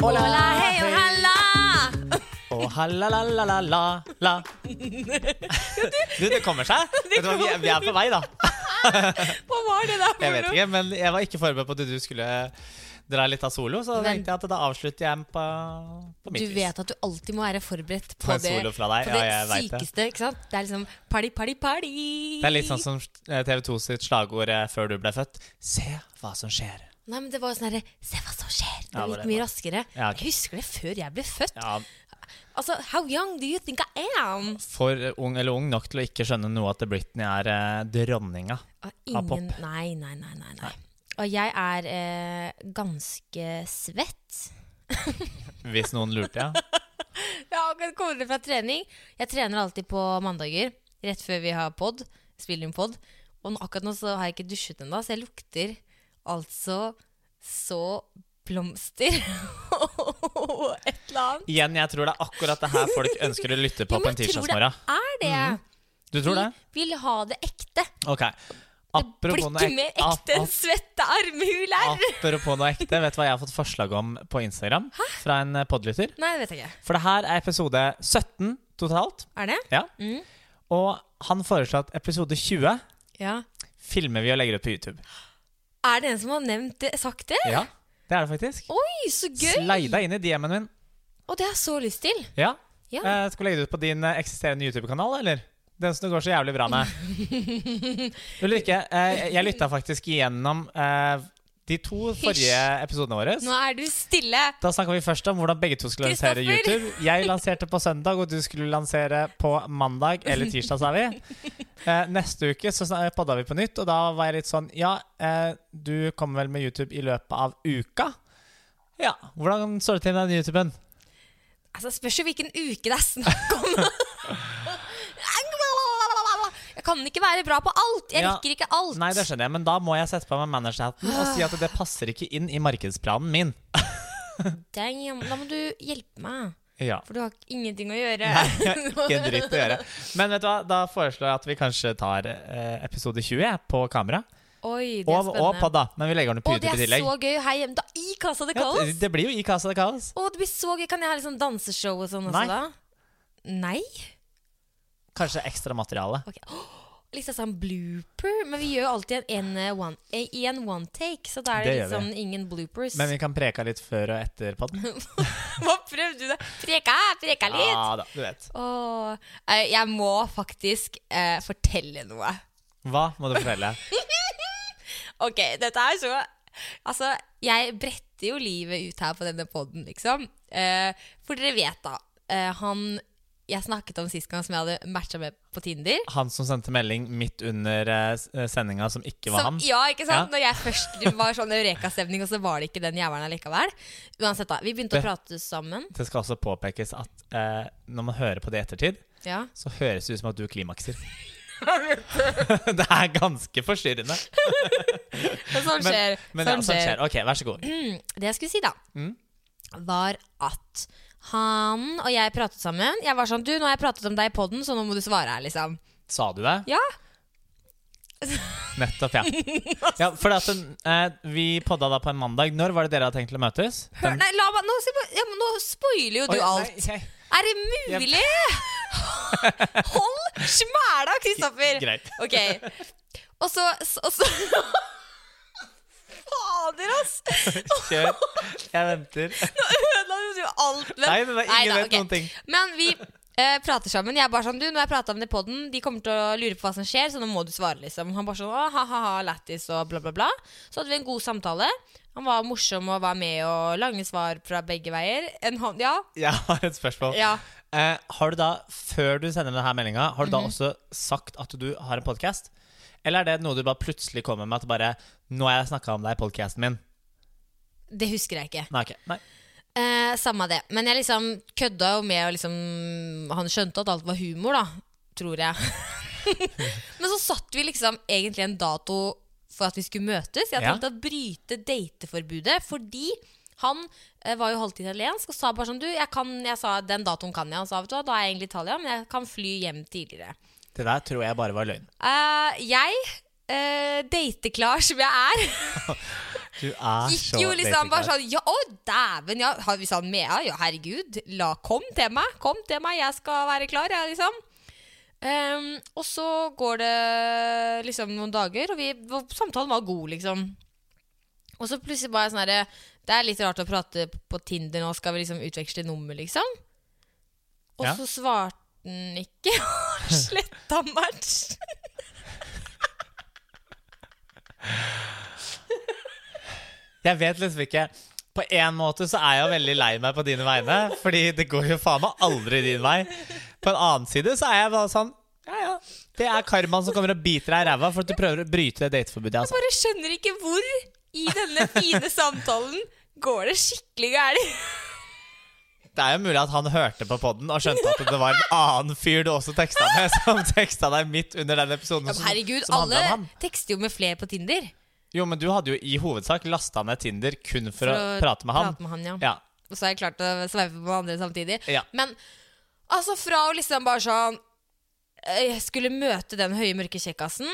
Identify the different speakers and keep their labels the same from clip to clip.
Speaker 1: Hola,
Speaker 2: Hola, Oh, hei og halla!
Speaker 1: og halla-la-la-la-la. Du, det kommer seg. Vet du hva, vi, er- vi er på vei, da.
Speaker 2: Hva var det der
Speaker 1: Jeg vet ikke, men jeg var ikke forberedt på at du skulle dra litt av solo, så da
Speaker 2: Men-
Speaker 1: tenkte jeg at da avslutter jeg på, på mitt
Speaker 2: Du vet at du alltid må være forberedt på,
Speaker 1: På en
Speaker 2: det,
Speaker 1: solo fra deg,
Speaker 2: på
Speaker 1: ja,
Speaker 2: det
Speaker 1: jeg vet det.
Speaker 2: sykeste. Ikke sant? Det er liksom party, party, party.
Speaker 1: Det er litt sånn som TV 2 sitt slagord eh, før du ble født. Se hva som skjer.
Speaker 2: Nei, men det var jo sånn herre Se hva som skjer! Det
Speaker 1: Ja, det var
Speaker 2: gikk
Speaker 1: det.
Speaker 2: mye raskere.
Speaker 1: Ja, ok.
Speaker 2: Jeg husker det før jeg ble født.
Speaker 1: Ja,
Speaker 2: Altså, How young do you think I am?
Speaker 1: For ung eller ung nok til å ikke skjønne noe at Britney er eh, dronninga.
Speaker 2: Ah,
Speaker 1: Av pop.
Speaker 2: Ingen Nei, nei, nei, nei. nei. Og jeg er eh, ganske svett.
Speaker 1: Hvis noen lurte, ja.
Speaker 2: Jeg har akkurat kommet ned fra trening. Jeg trener alltid på mandager, rett før vi har pod. Spiller inn pod. Og nå- akkurat nå så har jeg ikke dusjet ennå, så jeg lukter altså så blomster og et eller annet.
Speaker 1: Igjen, jeg tror det er akkurat det her folk ønsker å lytte på på
Speaker 2: Jo,
Speaker 1: en
Speaker 2: men jeg tror det
Speaker 1: tirsdagsmorgen.
Speaker 2: Er det?
Speaker 1: Du Mm, tror det?
Speaker 2: Vi vil ha det ekte.
Speaker 1: Ok.
Speaker 2: Det blir
Speaker 1: Apropos noe
Speaker 2: ikke mer
Speaker 1: ek- ap-
Speaker 2: ekte enn
Speaker 1: ap-
Speaker 2: svette
Speaker 1: Ah.
Speaker 2: armhuler.
Speaker 1: Apropos noe ekte, vet du hva jeg har fått forslag om på Instagram? Fra en eh, podlytter.
Speaker 2: Nei, det vet jeg ikke.
Speaker 1: For det her er episode 17 totalt.
Speaker 2: Er det?
Speaker 1: Ja.
Speaker 2: Mm.
Speaker 1: Og han foreslår at episode 20
Speaker 2: Ja.
Speaker 1: filmer vi og legger ut på YouTube.
Speaker 2: Er det en som har nevnt det, sagt det?
Speaker 1: Ja, Det er det faktisk.
Speaker 2: Oi, så gøy!
Speaker 1: Slida inn i DM-en min.
Speaker 2: Og det har jeg så lyst til.
Speaker 1: Ja.
Speaker 2: Ja.
Speaker 1: Eh, skal vi legge det ut på din eh, eksisterende YouTube-kanal, eller? Den som det går så jævlig bra med. Ulrikke, eh, jeg lytta faktisk igjennom eh, de to
Speaker 2: Hysj.
Speaker 1: forrige episodene våre.
Speaker 2: Nå er du stille.
Speaker 1: Da snakka vi først om hvordan begge to skulle lansere
Speaker 2: Kristoffer.
Speaker 1: YouTube. Jeg lanserte på søndag, og du skulle lansere på mandag eller tirsdag, sa vi. Eh, neste uke så snak- podda vi på nytt, og da var jeg litt sånn Ja, eh, du kommer vel med YouTube i løpet av uka? Ja. Hvordan står det til med den YouTuben?
Speaker 2: Altså, spørs jo hvilken uke det er snakk om. Jeg kan ikke være bra på alt. Jeg
Speaker 1: Ja.
Speaker 2: rekker ikke alt.
Speaker 1: Nei, det skjønner jeg, men da må jeg sette på meg managerhatten og si at det passer ikke inn i markedsplanen min.
Speaker 2: Damn, da må du hjelpe meg,
Speaker 1: Ja.
Speaker 2: for du har ingenting å gjøre.
Speaker 1: Ikke en dritt å gjøre. Men vet du hva, da foreslår jeg at vi kanskje tar eh, episode 20 jeg, på kamera.
Speaker 2: Oi, det er
Speaker 1: Og, og
Speaker 2: spennende.
Speaker 1: podd, da. Men vi legger den på
Speaker 2: Å,
Speaker 1: YouTube
Speaker 2: det
Speaker 1: i
Speaker 2: er
Speaker 1: tillegg.
Speaker 2: så gøy her hjemme. Da, I Casa de
Speaker 1: Ja,
Speaker 2: Calls.
Speaker 1: det- det blir jo i Casa de Kaos.
Speaker 2: Å, det blir så gøy. Kan jeg ha litt sånn danseshow og sånn også
Speaker 1: Nei.
Speaker 2: da? Nei?
Speaker 1: Kanskje ekstra materiale.
Speaker 2: Ok. Åh, Litt sånn blooper. Men vi gjør jo alltid en, en, eh, one, eh, i en one take, så da er det,
Speaker 1: Det
Speaker 2: litt
Speaker 1: gjør
Speaker 2: sånn ingen bloopers.
Speaker 1: Men vi kan preke litt før og etter podden.
Speaker 2: Hva prøvde du det? Preka, preka litt!
Speaker 1: Ja da, du vet.
Speaker 2: Åh, eh, jeg må faktisk eh, fortelle noe.
Speaker 1: Hva må du fortelle?
Speaker 2: Ok, dette er så Altså, jeg bretter jo livet ut her på denne poden, liksom. Eh, for dere vet, da. eh, han jeg snakket om sist gang som jeg hadde matcha med på Tinder.
Speaker 1: Han som sendte melding midt under uh, sendinga som ikke var
Speaker 2: Som-
Speaker 1: han?
Speaker 2: Ja, ikke sant? Når jeg først var sånn eureka-stemning, og så var det ikke den jævelen allikevel. Uansett, da. Vi begynte å
Speaker 1: Det-
Speaker 2: prate sammen.
Speaker 1: Det skal også påpekes at eh, når man hører på det i ettertid,
Speaker 2: Ja.
Speaker 1: så høres det ut som at du klimakser. det er ganske forstyrrende.
Speaker 2: Og sånn
Speaker 1: Men,
Speaker 2: skjer.
Speaker 1: men ja, sånn skjer. Ok, vær så god.
Speaker 2: Det jeg skulle si, da,
Speaker 1: Mm.
Speaker 2: var at han og jeg pratet sammen. Jeg var sånn Du, nå har jeg pratet om deg i poden, så nå må du svare her, liksom.
Speaker 1: Sa du det?
Speaker 2: Ja.
Speaker 1: Nettopp, ja. ja for at, den, eh, vi podda da på en mandag. Når var det dere hadde tenkt til å møtes?
Speaker 2: Hør, nei, la meg Nå, skal jeg bare- ja, men nå spoiler jo du
Speaker 1: Oi,
Speaker 2: alt.
Speaker 1: nei,
Speaker 2: Er det mulig? Hold smæla, Kristoffer!
Speaker 1: jeg- Greit.
Speaker 2: Ok. Og så Og så Fader, ass!
Speaker 1: Kjør. Jeg venter.
Speaker 2: Ødela du jo alt? men-
Speaker 1: Nei, nei, nei, ingen
Speaker 2: Neida,
Speaker 1: vet
Speaker 2: ok.
Speaker 1: noen ting.
Speaker 2: Men vi eh, prater sammen. Jeg er bare sånn, du, nå har jeg pratet om det i podden, de kommer til å lure på hva som skjer, så nå må du svare, liksom. Han bare sånn, å, ha-ha-ha, lættis og bla, bla, bla. Så hadde vi en god samtale. Han var morsom og var med, og lange svar fra begge veier. En hånd, ja.
Speaker 1: Jeg har et spørsmål.
Speaker 2: Ja.
Speaker 1: Eh, har du da, før du sender denne meldinga, har du
Speaker 2: Mhm.
Speaker 1: da også sagt at du har en podkast? Eller er det noe du bare plutselig kommer med? At bare 'Nå har jeg snakka om deg i podkasten min'.
Speaker 2: Det husker jeg ikke.
Speaker 1: Nei, ok. Nei.
Speaker 2: Eh, samme det. Men jeg liksom kødda jo med og liksom Han skjønte at alt var humor, da. Tror jeg. Men så satt vi liksom egentlig en dato for at vi skulle møtes. Jeg
Speaker 1: Ja.
Speaker 2: tenkte å bryte dateforbudet fordi han eh, var jo halvt italiensk og sa bare sånn Du, jeg kan Jeg sa den datoen kan jeg. Han sa vet du hva, da er jeg egentlig i Italia, men jeg kan fly hjem tidligere.
Speaker 1: Det der tror jeg bare var løgn.
Speaker 2: Eh, jeg, eh, dateklar som jeg er
Speaker 1: Du er Ah, så
Speaker 2: Gikk jo liksom bare
Speaker 1: datingklar.
Speaker 2: sånn Ja, å dæven! Ja. Han- Hvis han Mea, ja herregud, la, kom til meg! Kom til meg, jeg skal være klar, jeg, liksom. Ehm, og så går det liksom noen dager, og vi, og samtalen var god, liksom. Og så plutselig bare sånn herre Det er litt rart å prate på Tinder nå, skal vi liksom utveksle nummer, liksom? Og
Speaker 1: Ja.
Speaker 2: så svarte han ikke, og sletta match.
Speaker 1: Jeg vet liksom ikke På en måte så er jeg jo veldig lei meg på dine vegne, fordi det går jo faen meg aldri din vei. På en annen side så er jeg bare sånn Ja, ja. Det er karmaen som kommer og biter deg i ræva for at du prøver å bryte det dateforbudet. Altså.
Speaker 2: bare skjønner ikke hvor i denne fine samtalen går det skikkelig gærent.
Speaker 1: Det er jo mulig at han hørte på poden og skjønte at det var en annen fyr du også teksta med, som teksta deg midt under den episoden. som-
Speaker 2: Herregud,
Speaker 1: Altså, som handlet
Speaker 2: alle
Speaker 1: om han.
Speaker 2: tekster jo med flere på Tinder.
Speaker 1: Jo, men du hadde jo i hovedsak lasta ned Tinder kun for, å, prate med han.
Speaker 2: Prate med han ja.
Speaker 1: Ja.
Speaker 2: Og så har jeg klart å sveipe på andre samtidig.
Speaker 1: Ja.
Speaker 2: Men altså, fra å liksom bare sånn eh, Jeg skulle møte den høye, mørke kjekkasen,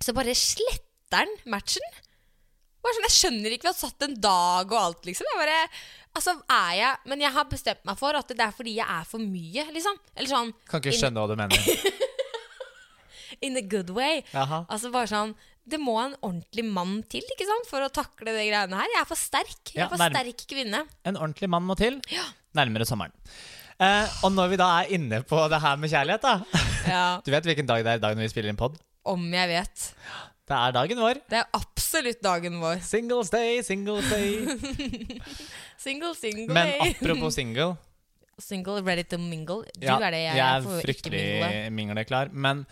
Speaker 2: så bare sletter han matchen. Bare sånn, jeg skjønner ikke, vi har satt en dag og alt, liksom. Jeg bare, altså, er jeg, men jeg har bestemt meg for at det er fordi jeg er for mye, liksom. Eller sånn
Speaker 1: Kan ikke skjønne hva du mener.
Speaker 2: in a good way.
Speaker 1: Jaha.
Speaker 2: Altså bare sånn Det må en ordentlig mann til ikke sant? for å takle de greiene her. Jeg er for sterk. Jeg
Speaker 1: Ja,
Speaker 2: er for
Speaker 1: nærm-
Speaker 2: sterk kvinne.
Speaker 1: En ordentlig mann må til. Nærmere sommeren. Eh, og når vi da er inne på det her med kjærlighet, da
Speaker 2: Ja,
Speaker 1: Du vet hvilken dag det er i dag når vi spiller inn pod?
Speaker 2: Om jeg vet.
Speaker 1: Det er dagen vår.
Speaker 2: Det er absolutt dagen vår.
Speaker 1: Singles day, singles day.
Speaker 2: Single, single,
Speaker 1: Men
Speaker 2: hey.
Speaker 1: apropos single
Speaker 2: Single, ready to mingle. Du
Speaker 1: ja,
Speaker 2: er det jeg,
Speaker 1: jeg
Speaker 2: får
Speaker 1: er
Speaker 2: ikke mingle.
Speaker 1: fryktelig mingleklar. Men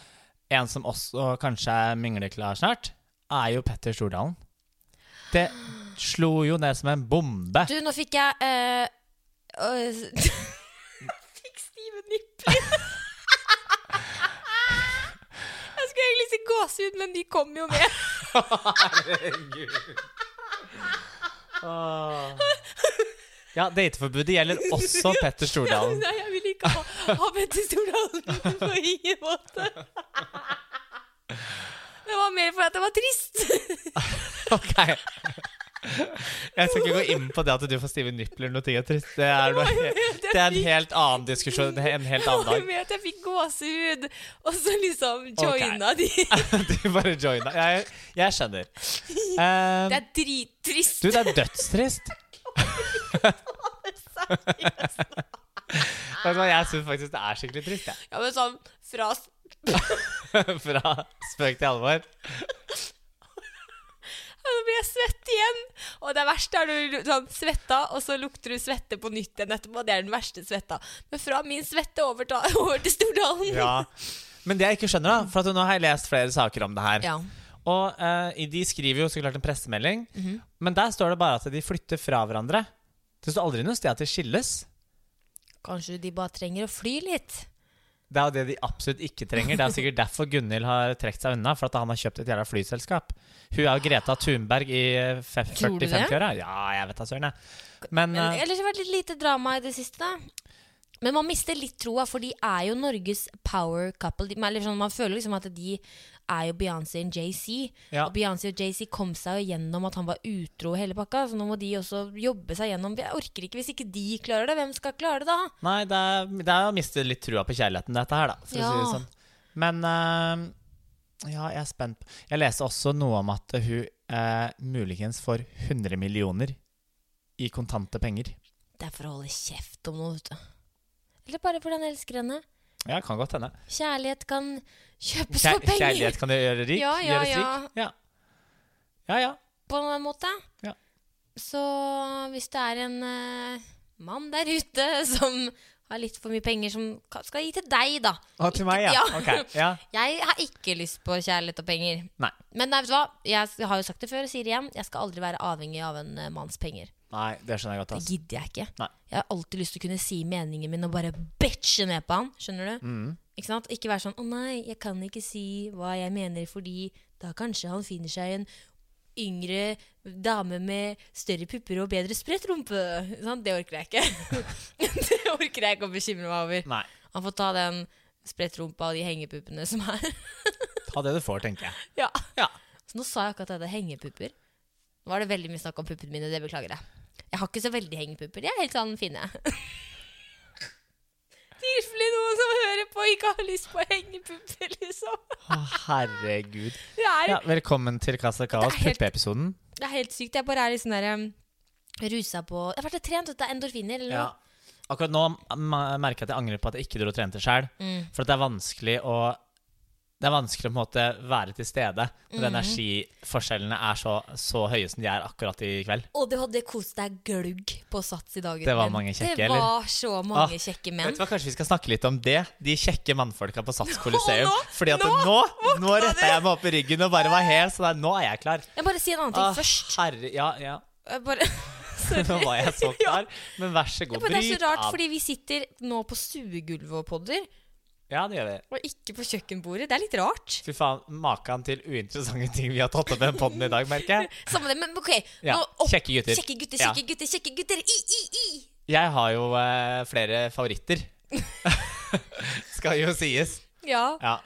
Speaker 1: en som også kanskje er mingleklar snart, er jo Petter Stordalen. Det slo jo ned som en bombe.
Speaker 2: Du, nå fikk jeg eh, øh, Fikk stive nipper. jeg skulle egentlig si gåsehud, men de kom jo med.
Speaker 1: Åh. Ja, dateforbudet gjelder også Petter Stordalen.
Speaker 2: Nei, jeg vil ikke ha, ha Petter Stordalen på ingen måte. Det var mer fordi at det var trist.
Speaker 1: Ok. Jeg skal ikke gå inn på det at du får stive nipler når ting er trist. Det er, noe,
Speaker 2: helt-
Speaker 1: det er en helt annen diskusjon. det er En helt
Speaker 2: Det var
Speaker 1: annen dag.
Speaker 2: mer at jeg fikk gåsehud, og så liksom
Speaker 1: Ok.
Speaker 2: joina de.
Speaker 1: Du bare joina. Jeg, jeg skjønner. Eh,
Speaker 2: Det er drittrist.
Speaker 1: du, det er dødstrist. Vet du hva, Jeg syns faktisk det er skikkelig trist, jeg.
Speaker 2: Ja, men sånn fra s-
Speaker 1: Fra spøk til alvor.
Speaker 2: Ja, Nå blir jeg svett igjen. Og det verste er når du sånn, svetta, og så lukter du svette på nytt igjen etterpå. Det er den verste svetta. Men fra min svette over, ta, over til Stordalen.
Speaker 1: Ja. Men det jeg ikke skjønner, da, for at nå har jeg lest flere saker om det her.
Speaker 2: Ja.
Speaker 1: Og eh, i- de skriver jo så klart en pressemelding,
Speaker 2: Mhm.
Speaker 1: men der står det bare at de flytter fra hverandre. Det står aldri noe sted at de skilles.
Speaker 2: Kanskje de bare trenger å fly litt.
Speaker 1: Det er jo det de absolutt ikke trenger. Det er sikkert derfor Gunhild har trukket seg unna, for at han har kjøpt et jævla flyselskap. Hun er jo Greta Thunberg i fe-
Speaker 2: Tror du det?
Speaker 1: 40-50-åra. Ja, jeg vet da søren, jeg. Men,
Speaker 2: Men
Speaker 1: eh,
Speaker 2: ellers har det vært litt lite drama i det siste, da. Men man mister litt troa, for de er jo Norges power couple. De, eller sånn, man føler liksom at de er jo Beyoncé og JC.
Speaker 1: eh, Ja.
Speaker 2: Og Beyoncé og JC kom seg jo gjennom at han var utro og hele pakka, så nå må de også jobbe seg gjennom. Jeg orker ikke hvis ikke de klarer det. Hvem skal klare det, da?
Speaker 1: nei, det er, det er å miste litt trua på kjærligheten, dette her, da. For å si
Speaker 2: Ja.
Speaker 1: det sånn. Men eh, ja, jeg er spent. Jeg leste også noe om at hun eh, muligens får 100 millioner i kontante penger.
Speaker 2: Det er for å holde kjeft om noe, vet du. Eller bare fordi han elsker henne.
Speaker 1: Ja, kan godt hende.
Speaker 2: Kjærlighet kan kjøpes
Speaker 1: Kjær
Speaker 2: for penger,
Speaker 1: kjærlighet kan gjøre rik.
Speaker 2: Ja, ja,
Speaker 1: gjøres rik. ja. Ja, ja.
Speaker 2: på en måte.
Speaker 1: Ja.
Speaker 2: Så hvis det er en eh, mann der ute som har litt for mye penger, som ka- skal gi til deg, da.
Speaker 1: Og til meg, ja.
Speaker 2: Ja.
Speaker 1: Ok, ja.
Speaker 2: Jeg har ikke lyst på kjærlighet og penger.
Speaker 1: Nei.
Speaker 2: Men nei, vet du hva? jeg har jo sagt det før og sier det igjen, jeg skal aldri være avhengig av en eh, manns penger.
Speaker 1: Nei, det skjønner jeg godt. altså.
Speaker 2: Det
Speaker 1: ass.
Speaker 2: gidder jeg ikke.
Speaker 1: Nei.
Speaker 2: Jeg har alltid lyst til å kunne si meningen min og bare bitche ned på han. Skjønner du?
Speaker 1: Mm.
Speaker 2: Ikke sant? Ikke være sånn 'Å nei, jeg kan ikke si hva jeg mener', fordi da kanskje han finner seg en yngre dame med større pupper og bedre spredt rumpe. Ikke Sant? Det orker jeg ikke. det orker jeg ikke å bekymre meg over.
Speaker 1: Nei.
Speaker 2: Han får ta den spredt rumpa og de hengepuppene som er.
Speaker 1: Ta det du får, tenker jeg.
Speaker 2: ja.
Speaker 1: Ja.
Speaker 2: Så nå sa jeg akkurat at det er hengepupper. Nå var det veldig mye snakk om puppene mine, det beklager jeg. Jeg har ikke så veldig hengepupper. De er helt sånn fine. Tilfelle noen som hører på, ikke har lyst på hengepupper, liksom.
Speaker 1: Å, herregud.
Speaker 2: Det er,
Speaker 1: Ja, velkommen til Casa Kaos,
Speaker 2: Det er helt-
Speaker 1: puppeepisoden.
Speaker 2: det er helt sykt. Jeg bare er litt sånn der um, rusa på Jeg har vært og trent, vet du. Det er endorfiner. Eller
Speaker 1: Ja.
Speaker 2: noe.
Speaker 1: Akkurat nå ma- merker jeg at jeg angrer på at jeg ikke dro og trente sjøl.
Speaker 2: Mm.
Speaker 1: For at det er vanskelig å Det er vanskelig å på en måte være til stede når
Speaker 2: Mm-hmm.
Speaker 1: energiforskjellene er så, så høye som de er akkurat i kveld.
Speaker 2: Og du hadde kost deg glugg på Sats i dag.
Speaker 1: Det var
Speaker 2: Ruben.
Speaker 1: mange kjekke,
Speaker 2: Det
Speaker 1: eller?
Speaker 2: var så mange
Speaker 1: Ah,
Speaker 2: kjekke
Speaker 1: Vet
Speaker 2: menn.
Speaker 1: du hva, Kanskje vi skal snakke litt om det? De kjekke mannfolka på Sats Coliseum.
Speaker 2: nå-
Speaker 1: Fordi at nå,
Speaker 2: nå
Speaker 1: nå,
Speaker 2: våkna du!
Speaker 1: retta jeg meg opp i ryggen og bare var helt sånn der, Nå er jeg klar.
Speaker 2: Jeg bare sier en annen ting
Speaker 1: Ah,
Speaker 2: først.
Speaker 1: herre, ja, ja.
Speaker 2: Jeg bare, sorry.
Speaker 1: Nå var jeg så
Speaker 2: Ja.
Speaker 1: klar. Men vær så
Speaker 2: Ja,
Speaker 1: god,
Speaker 2: men det er så
Speaker 1: bryt
Speaker 2: rart,
Speaker 1: av.
Speaker 2: fordi vi sitter nå på stuegulvet og podder,
Speaker 1: Ja, det gjør vi.
Speaker 2: og ikke på kjøkkenbordet. Det er litt rart.
Speaker 1: Fy faen, maken til uinteressante ting vi har tatt opp i den podden i dag, merker jeg.
Speaker 2: Samme det, men ok.
Speaker 1: Ja,
Speaker 2: nå opp.
Speaker 1: Kjekke gutter.
Speaker 2: Kjekke gutter,
Speaker 1: Ja.
Speaker 2: kjekke gutter, kjekke gutter. I, i, i.
Speaker 1: Jeg har jo eh, flere favoritter. Skal jo sies.
Speaker 2: Ja,
Speaker 1: Ja.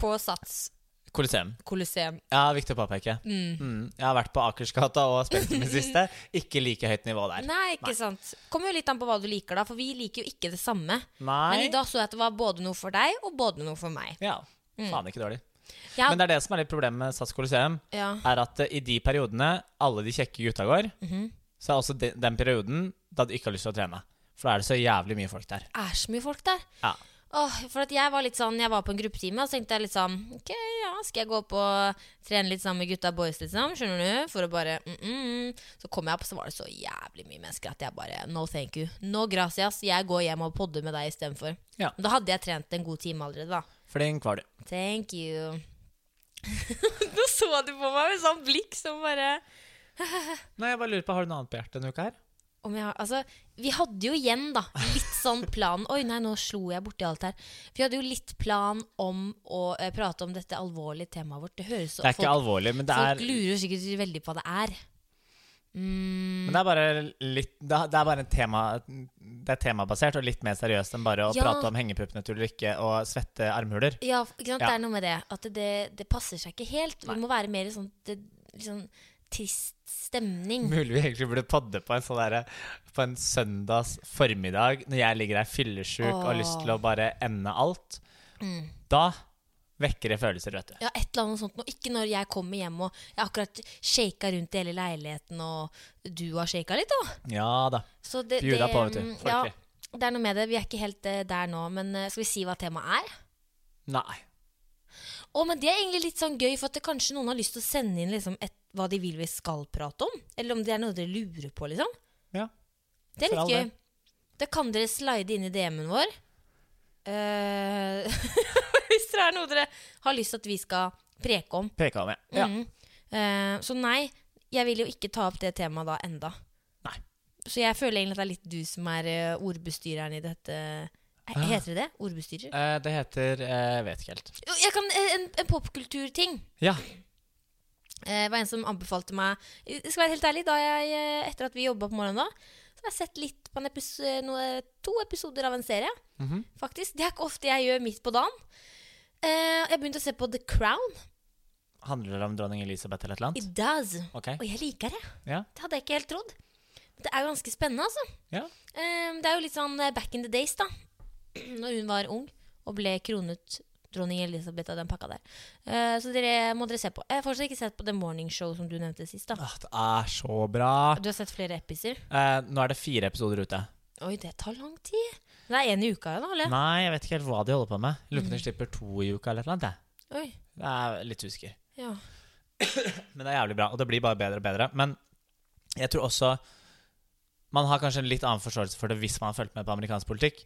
Speaker 2: på Sats
Speaker 1: Coliseum.
Speaker 2: Colosseum.
Speaker 1: Ja, viktig å påpeke.
Speaker 2: Mm.
Speaker 1: Mm. Jeg har vært på Akersgata og Spektrum i det siste. Ikke like høyt nivå der.
Speaker 2: Nei, ikke sant. Kommer jo litt an på hva du liker, da, for vi liker jo ikke det samme. Men i dag så jeg at det var både noe for deg, og både noe for meg.
Speaker 1: Ja. Faen, ikke dårlig.
Speaker 2: Mm. Ja.
Speaker 1: Men det er det som er litt problemet med SAS Coliseum,
Speaker 2: Ja.
Speaker 1: er at eh, i de periodene alle de kjekke gutta går,
Speaker 2: Mhm.
Speaker 1: så er også de, den perioden da du ikke har lyst til å trene. For da er det så jævlig mye folk der.
Speaker 2: er så mye folk der.
Speaker 1: Ja.
Speaker 2: Åh, for at jeg var litt sånn, jeg var på en gruppetime, og så tenkte jeg litt sånn Ok, ja, skal jeg gå opp og trene litt sammen med gutta boys, liksom? Skjønner du? For å bare mm, mm, mm. Så kom jeg opp, så var det så jævlig mye mennesker at jeg bare No thank you. No gracias. Jeg går hjem og podder med deg istedenfor.
Speaker 1: Ja.
Speaker 2: Men Da hadde jeg trent en god time allerede, da.
Speaker 1: Flink var du.
Speaker 2: Thank you. Nå så du på meg med sånn blikk som bare
Speaker 1: Nei, jeg bare lurer på, har du noe annet på hjertet denne uka her?
Speaker 2: om jeg har, altså, vi hadde jo igjen da litt sånn plan Oi, nei, nå slo jeg borti alt her. Vi hadde jo litt plan om å eh, prate om dette alvorlige temaet vårt. Det høres
Speaker 1: Det er ikke alvorlig, men det
Speaker 2: Folk
Speaker 1: er
Speaker 2: lurer jo sikkert veldig på hva det er. Mm,
Speaker 1: Men det er bare litt Det er- det er bare en tema Det er temabasert og litt mer seriøst enn bare å
Speaker 2: Ja.
Speaker 1: prate om hengepuppene til Ulrikke og svette armhuler.
Speaker 2: ja, ikke sant?
Speaker 1: Ja.
Speaker 2: det er noe med det. At det, det, det passer seg ikke helt. Vi må være mer i sånn, det, litt sånn trist stemning.
Speaker 1: Mulig vi egentlig burde podde på en sånn derre På en søndags formiddag når jeg ligger der fyllesyk og har lyst til å bare ende alt.
Speaker 2: Mm.
Speaker 1: Da vekker det følelser, vet du.
Speaker 2: Ja, et eller annet sånt nå. Ikke når jeg kommer hjem og jeg har akkurat shaka rundt i hele leiligheten, og du har shaka litt, da.
Speaker 1: Ja da.
Speaker 2: Så det,
Speaker 1: Bjuda
Speaker 2: det,
Speaker 1: på, vet du.
Speaker 2: mm, Ja,
Speaker 1: Folkelig.
Speaker 2: det er noe med det. Vi er ikke helt eh, der nå, men eh, skal vi si hva temaet er?
Speaker 1: Nei.
Speaker 2: Å, men Det er egentlig litt sånn gøy, for at det kanskje noen har lyst til å sende inn liksom, et, hva de vil vi skal prate om. Eller om det er noe dere lurer på, liksom.
Speaker 1: Ja.
Speaker 2: Det er
Speaker 1: for all
Speaker 2: litt gøy.
Speaker 1: del.
Speaker 2: Da kan dere slide inn i DM-en vår. Eh, hvis det er noe dere har lyst til at vi skal preke om.
Speaker 1: Preka om, ja. ja.
Speaker 2: Mhm. Eh, så nei, jeg vil jo ikke ta opp det temaet da enda.
Speaker 1: Nei.
Speaker 2: Så jeg føler egentlig at det er litt du som er eh, ordbestyreren i dette. Eh,
Speaker 1: Ah.
Speaker 2: Heter det det? Ordbestyrer?
Speaker 1: Eh, det heter eh, Vet ikke helt.
Speaker 2: Jo, Jeg kan, eh, en en popkulturting.
Speaker 1: Ja.
Speaker 2: Eh, Det var en som anbefalte meg Jeg skal være helt ærlig, da jeg, eh, etter at vi jobba på morgenen da, så har jeg sett litt på en epis eh, noe, to episoder av en serie.
Speaker 1: Mhm.
Speaker 2: Faktisk. Det er ikke ofte jeg gjør midt på dagen. Eh, Jeg begynte å se på The Crown.
Speaker 1: Handler det om dronning Elisabeth eller et eller annet?
Speaker 2: It does.
Speaker 1: Ok.
Speaker 2: Og jeg liker det.
Speaker 1: Ja.
Speaker 2: Det hadde jeg ikke helt trodd. Men det er jo ganske spennende, altså.
Speaker 1: Ja.
Speaker 2: Ehm, det er jo litt sånn eh, back in the days, da. Når hun var ung og ble kronet dronning Elisabeth av den pakka der. Eh, så dere må dere se på. Jeg har fortsatt ikke sett på The Morning Show som du nevnte sist. da
Speaker 1: Åh, Ah, det er så bra.
Speaker 2: Du har sett flere episoder?
Speaker 1: Eh, nå er det fire episoder ute.
Speaker 2: Oi, det tar lang tid. Det er én i uka, da? eller?
Speaker 1: Nei, jeg vet ikke helt hva de holder på med. Lurer
Speaker 2: Mm.
Speaker 1: på om de slipper to i uka eller noe.
Speaker 2: Oi,
Speaker 1: Jeg er litt usikker.
Speaker 2: ja.
Speaker 1: Men det er jævlig bra, og det blir bare bedre og bedre. Men jeg tror også man har kanskje en litt annen forståelse for det hvis man har fulgt med på amerikansk politikk.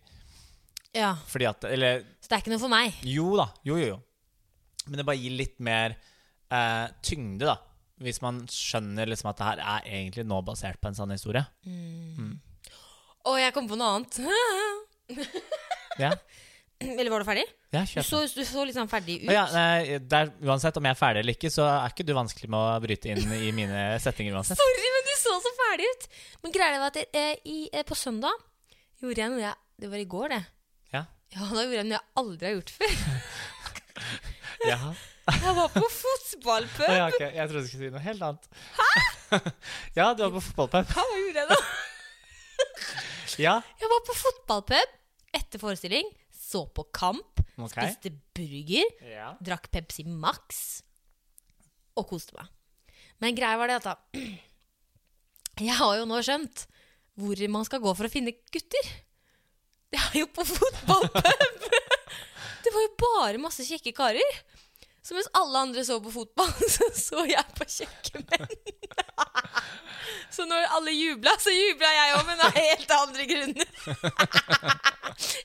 Speaker 2: ja.
Speaker 1: Fordi at Eller
Speaker 2: Så det er ikke noe for meg.
Speaker 1: jo da, jo jo jo. Men det bare gir litt mer eh, tyngde, da. Hvis man skjønner liksom at det her er egentlig nå basert på en sann historie.
Speaker 2: Å, jeg kom på noe annet.
Speaker 1: Ja,
Speaker 2: eller var du ferdig?
Speaker 1: ja
Speaker 2: Du
Speaker 1: kjør på.
Speaker 2: så, du så litt sånn ferdig ut.
Speaker 1: Å Ja, nei, det er- uansett om jeg er ferdig eller ikke, så er ikke du vanskelig med å bryte inn i mine setninger uansett.
Speaker 2: Sorry, men du så så ferdig ut! Men greia var at jeg, eh, i, eh, på søndag gjorde jeg noe jeg Det var i går, det.
Speaker 1: Ja.
Speaker 2: Ja, Da gjorde jeg noe jeg aldri har gjort før.
Speaker 1: Ja.
Speaker 2: Jeg var på fotballpub!
Speaker 1: ja, ok, Jeg trodde du skulle si noe helt annet. Hæ?! ja, du var på fotballpub.
Speaker 2: Hva gjorde jeg da?
Speaker 1: Ja,
Speaker 2: Jeg var på fotballpub etter forestilling. Så på kamp.
Speaker 1: ok.
Speaker 2: Spiste burger.
Speaker 1: Ja.
Speaker 2: Drakk Pepsi Max. Og koste meg. Men greia var det at da Jeg har jo nå skjønt hvor man skal gå for å finne gutter. Det er jo på fotballpub! Det var jo bare masse kjekke karer. Så mens alle andre så på fotball, så så jeg på kjekke menn. Så når alle jubla, så jubla jeg òg, men av helt andre grunner.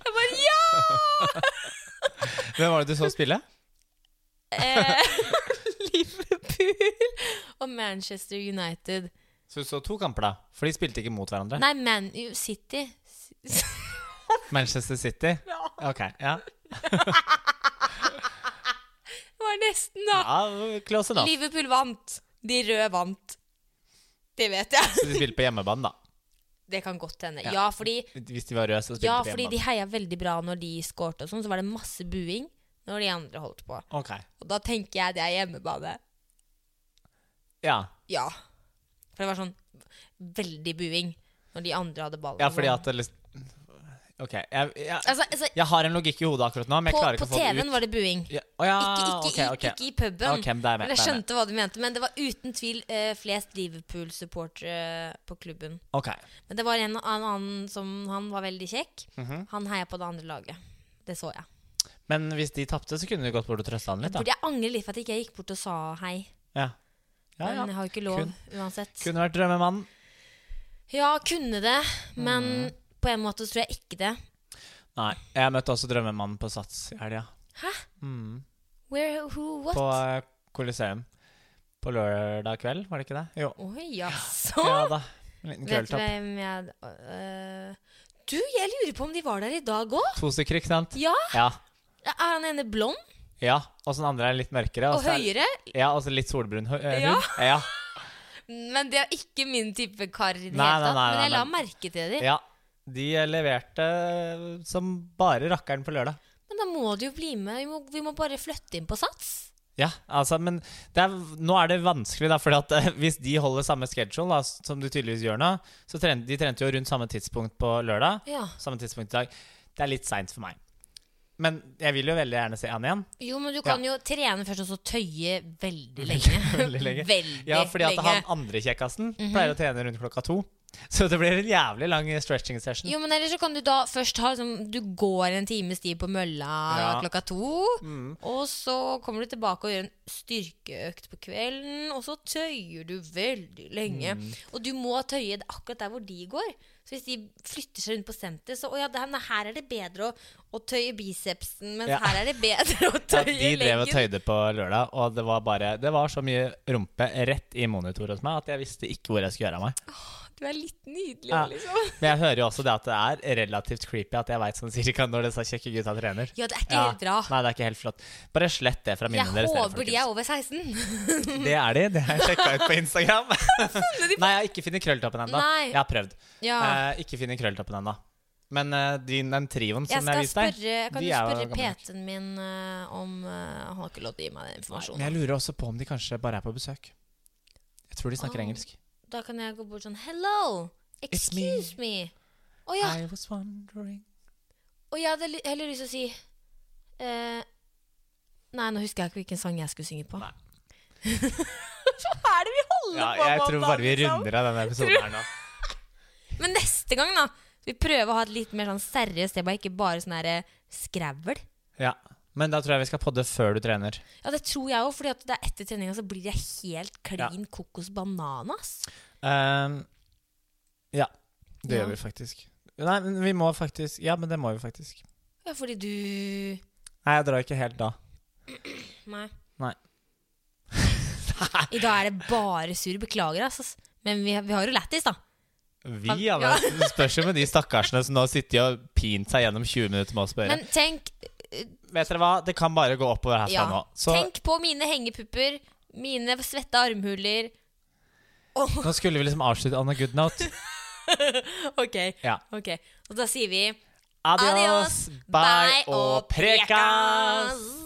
Speaker 2: Jeg bare ja!
Speaker 1: Hvem var det du så spille?
Speaker 2: Eh, Liverpool og Manchester United.
Speaker 1: Så du så to kamper, da? For de spilte ikke mot hverandre.
Speaker 2: Nei, Man City.
Speaker 1: Manchester City?
Speaker 2: Ja,
Speaker 1: Ok, ja.
Speaker 2: det var nesten, da.
Speaker 1: ja close enough.
Speaker 2: Liverpool vant. De røde vant. Det vet jeg.
Speaker 1: Så de spilte på hjemmebane, da.
Speaker 2: Det kan godt hende.
Speaker 1: Ja.
Speaker 2: Ja, fordi,
Speaker 1: Hvis de var røde, så spilte
Speaker 2: ja,
Speaker 1: de på
Speaker 2: fordi
Speaker 1: hjemmebane.
Speaker 2: de heia veldig bra når de skårte og sånn, så var det masse buing når de andre holdt på.
Speaker 1: Ok,
Speaker 2: Og da tenker jeg det er hjemmebane.
Speaker 1: ja.
Speaker 2: Ja. For det var sånn veldig buing når de andre hadde ballen.
Speaker 1: ja, fordi at det liksom Ok, jeg, jeg,
Speaker 2: Altså, altså
Speaker 1: jeg har en logikk i hodet akkurat nå, men jeg
Speaker 2: på,
Speaker 1: klarer ikke
Speaker 2: på
Speaker 1: å få det
Speaker 2: TV-en
Speaker 1: ut.
Speaker 2: var det buing.
Speaker 1: Ja, å ja,
Speaker 2: Ikke, ikke,
Speaker 1: ok,
Speaker 2: i-
Speaker 1: ok.
Speaker 2: ikke i puben.
Speaker 1: Ok, men da er jeg med, da er
Speaker 2: Men jeg
Speaker 1: jeg med.
Speaker 2: skjønte hva du mente. Men det var uten tvil eh, flest Liverpool-supportere på klubben.
Speaker 1: Ok.
Speaker 2: Men det var en, en annen som Han var veldig kjekk.
Speaker 1: Mhm.
Speaker 2: Han heia på det andre laget. Det så jeg.
Speaker 1: Men hvis de tapte, så kunne du gått bort og trøsta han litt, da.
Speaker 2: Burde jeg angre litt for at ikke jeg gikk bort og sa hei.
Speaker 1: Ja. Ja, ja.
Speaker 2: Men jeg har jo ikke lov
Speaker 1: Kun-
Speaker 2: uansett.
Speaker 1: Kunne vært drømmemannen.
Speaker 2: Ja, kunne det, men
Speaker 1: Mm.
Speaker 2: på en måte så tror jeg ikke det.
Speaker 1: Nei, jeg møtte også drømmemannen på Sats i helga.
Speaker 2: Hæ?
Speaker 1: Mm.
Speaker 2: Where, who, what?
Speaker 1: På eh, Coliseum. På lørdag kveld, var det ikke det? Jo.
Speaker 2: Oi, jaså!
Speaker 1: Ja da. En liten
Speaker 2: Vet du
Speaker 1: kveldtopp.
Speaker 2: hvem jeg øh, Du, jeg lurer på om de var der i dag òg?
Speaker 1: To stykker, ikke sant?
Speaker 2: Ja.
Speaker 1: Ja.
Speaker 2: Er han ene blond
Speaker 1: ja. Og så den andre er litt mørkere.
Speaker 2: og
Speaker 1: så er-
Speaker 2: høyere?
Speaker 1: Ja, og så litt solbrun hu- eh,
Speaker 2: Ja.
Speaker 1: hud. Ja.
Speaker 2: Men det er ikke min type kar i det
Speaker 1: Nei,
Speaker 2: hele
Speaker 1: nei,
Speaker 2: tatt.
Speaker 1: nei,
Speaker 2: Men jeg
Speaker 1: nei,
Speaker 2: la
Speaker 1: nei.
Speaker 2: merke til dem.
Speaker 1: ja. De eh, leverte eh, som bare rakkeren på lørdag.
Speaker 2: Men da må du jo bli med. Vi må, vi må bare flytte inn på Sats.
Speaker 1: Ja, altså, men det er, nå er det vanskelig, da, fordi at eh, hvis de holder samme schedule, da, som du tydeligvis gjør nå, så trente de trente jo rundt samme tidspunkt på lørdag,
Speaker 2: Ja.
Speaker 1: samme tidspunkt i dag. Det er litt seint for meg. Men jeg vil jo veldig gjerne se han igjen.
Speaker 2: Jo, men du kan jo trene først, og så tøye veldig lenge.
Speaker 1: Veldig lenge.
Speaker 2: Veldig
Speaker 1: Ja, fordi at
Speaker 2: lenge. Mhm.
Speaker 1: han andre kjekkasen pleier å trene rundt klokka to. Så det blir en jævlig lang stretching session.
Speaker 2: Jo, men ellers så kan du da først ha liksom, Du går en times tid på mølla
Speaker 1: Ja. Mm.
Speaker 2: klokka to. Og så kommer du tilbake og gjør en styrkeøkt på kvelden. Og så tøyer du veldig lenge.
Speaker 1: Mm.
Speaker 2: Og du må tøye det akkurat der hvor de går. Så hvis de flytter seg rundt på senter, så å ja, det her- nei, her er det bedre å, å tøye bicepsen, mens
Speaker 1: Ja.
Speaker 2: her er det bedre å
Speaker 1: Ja,
Speaker 2: tøye
Speaker 1: de drev og
Speaker 2: leggen.
Speaker 1: tøyde på lørdag, og det var bare Det var så mye rumpe rett i monitor hos meg at jeg visste ikke hvor jeg skulle gjøre av meg.
Speaker 2: Du er litt nydelig,
Speaker 1: Ja.
Speaker 2: liksom.
Speaker 1: Men jeg hører jo også det at det er relativt creepy at jeg veit sånn cirka når disse kjekke gutta trener.
Speaker 2: Ja, det er ikke
Speaker 1: Ja.
Speaker 2: helt bra.
Speaker 1: Nei, det er ikke helt flott. Bare slett det fra
Speaker 2: Jeg
Speaker 1: minnene deres. dere,
Speaker 2: håper de er over 16.
Speaker 1: folkens. Det er de. Det har jeg sjekka ut på Instagram. Nei, jeg har ikke funnet krølltoppen ennå.
Speaker 2: Nei.
Speaker 1: Jeg har prøvd.
Speaker 2: Ja.
Speaker 1: Eh, ikke funnet krølltoppen ennå. Men eh, din, den trioen som
Speaker 2: Jeg
Speaker 1: jeg,
Speaker 2: skal
Speaker 1: viste deg
Speaker 2: spørre,
Speaker 1: de
Speaker 2: kan
Speaker 1: er
Speaker 2: du
Speaker 1: jo
Speaker 2: spørre
Speaker 1: gamle nok.
Speaker 2: PT-en min eh, om eh, Han har ikke lov til å gi meg den
Speaker 1: Men
Speaker 2: informasjonen.
Speaker 1: jeg lurer også på om de kanskje bare er på besøk. Jeg tror de snakker
Speaker 2: Ah.
Speaker 1: engelsk.
Speaker 2: Da kan jeg gå bort sånn Hello!
Speaker 1: It's me.
Speaker 2: Excuse me! Å ja.
Speaker 1: I was wondering
Speaker 2: Og jeg hadde ly- heller lyst til å si eh, Nei, nå husker jeg ikke hvilken sang jeg skulle synge på.
Speaker 1: Nei.
Speaker 2: Hva er det vi holder
Speaker 1: Ja,
Speaker 2: på
Speaker 1: jeg
Speaker 2: med?
Speaker 1: tror
Speaker 2: da,
Speaker 1: bare vi
Speaker 2: liksom?
Speaker 1: runder av denne episoden her nå.
Speaker 2: Men neste gang, da. Vi prøver å ha et litt mer sånn seriøst tema, ikke bare sånn her, eh, skravl.
Speaker 1: Ja. Men da tror jeg vi skal podde før du trener.
Speaker 2: Ja, det tror jeg òg, for etter treninga så blir jeg helt klin kokos bananas.
Speaker 1: Ehm, ja. Det
Speaker 2: Ja.
Speaker 1: gjør vi faktisk. Nei, men vi må faktisk Ja, men det må vi faktisk.
Speaker 2: Ja, fordi du
Speaker 1: Nei, jeg drar ikke helt da.
Speaker 2: Nei.
Speaker 1: Nei.
Speaker 2: I dag er det bare sur. Beklager, altså. Men vi, vi har jo lættis, da.
Speaker 1: Vi, Ah, ja. men Det spørs jo med de stakkarsene som nå sitter og pint seg gjennom 20 minutter med oss på øret.
Speaker 2: Men tenk,
Speaker 1: Vet dere hva, det kan bare gå oppover herfra
Speaker 2: ja,
Speaker 1: nå. Så
Speaker 2: tenk på mine hengepupper, mine svette armhuler.
Speaker 1: nå skulle vi liksom avslutte on a good note.
Speaker 2: Ok.
Speaker 1: Ja.
Speaker 2: ok. Og da sier vi
Speaker 1: Adios, bye, og prekas!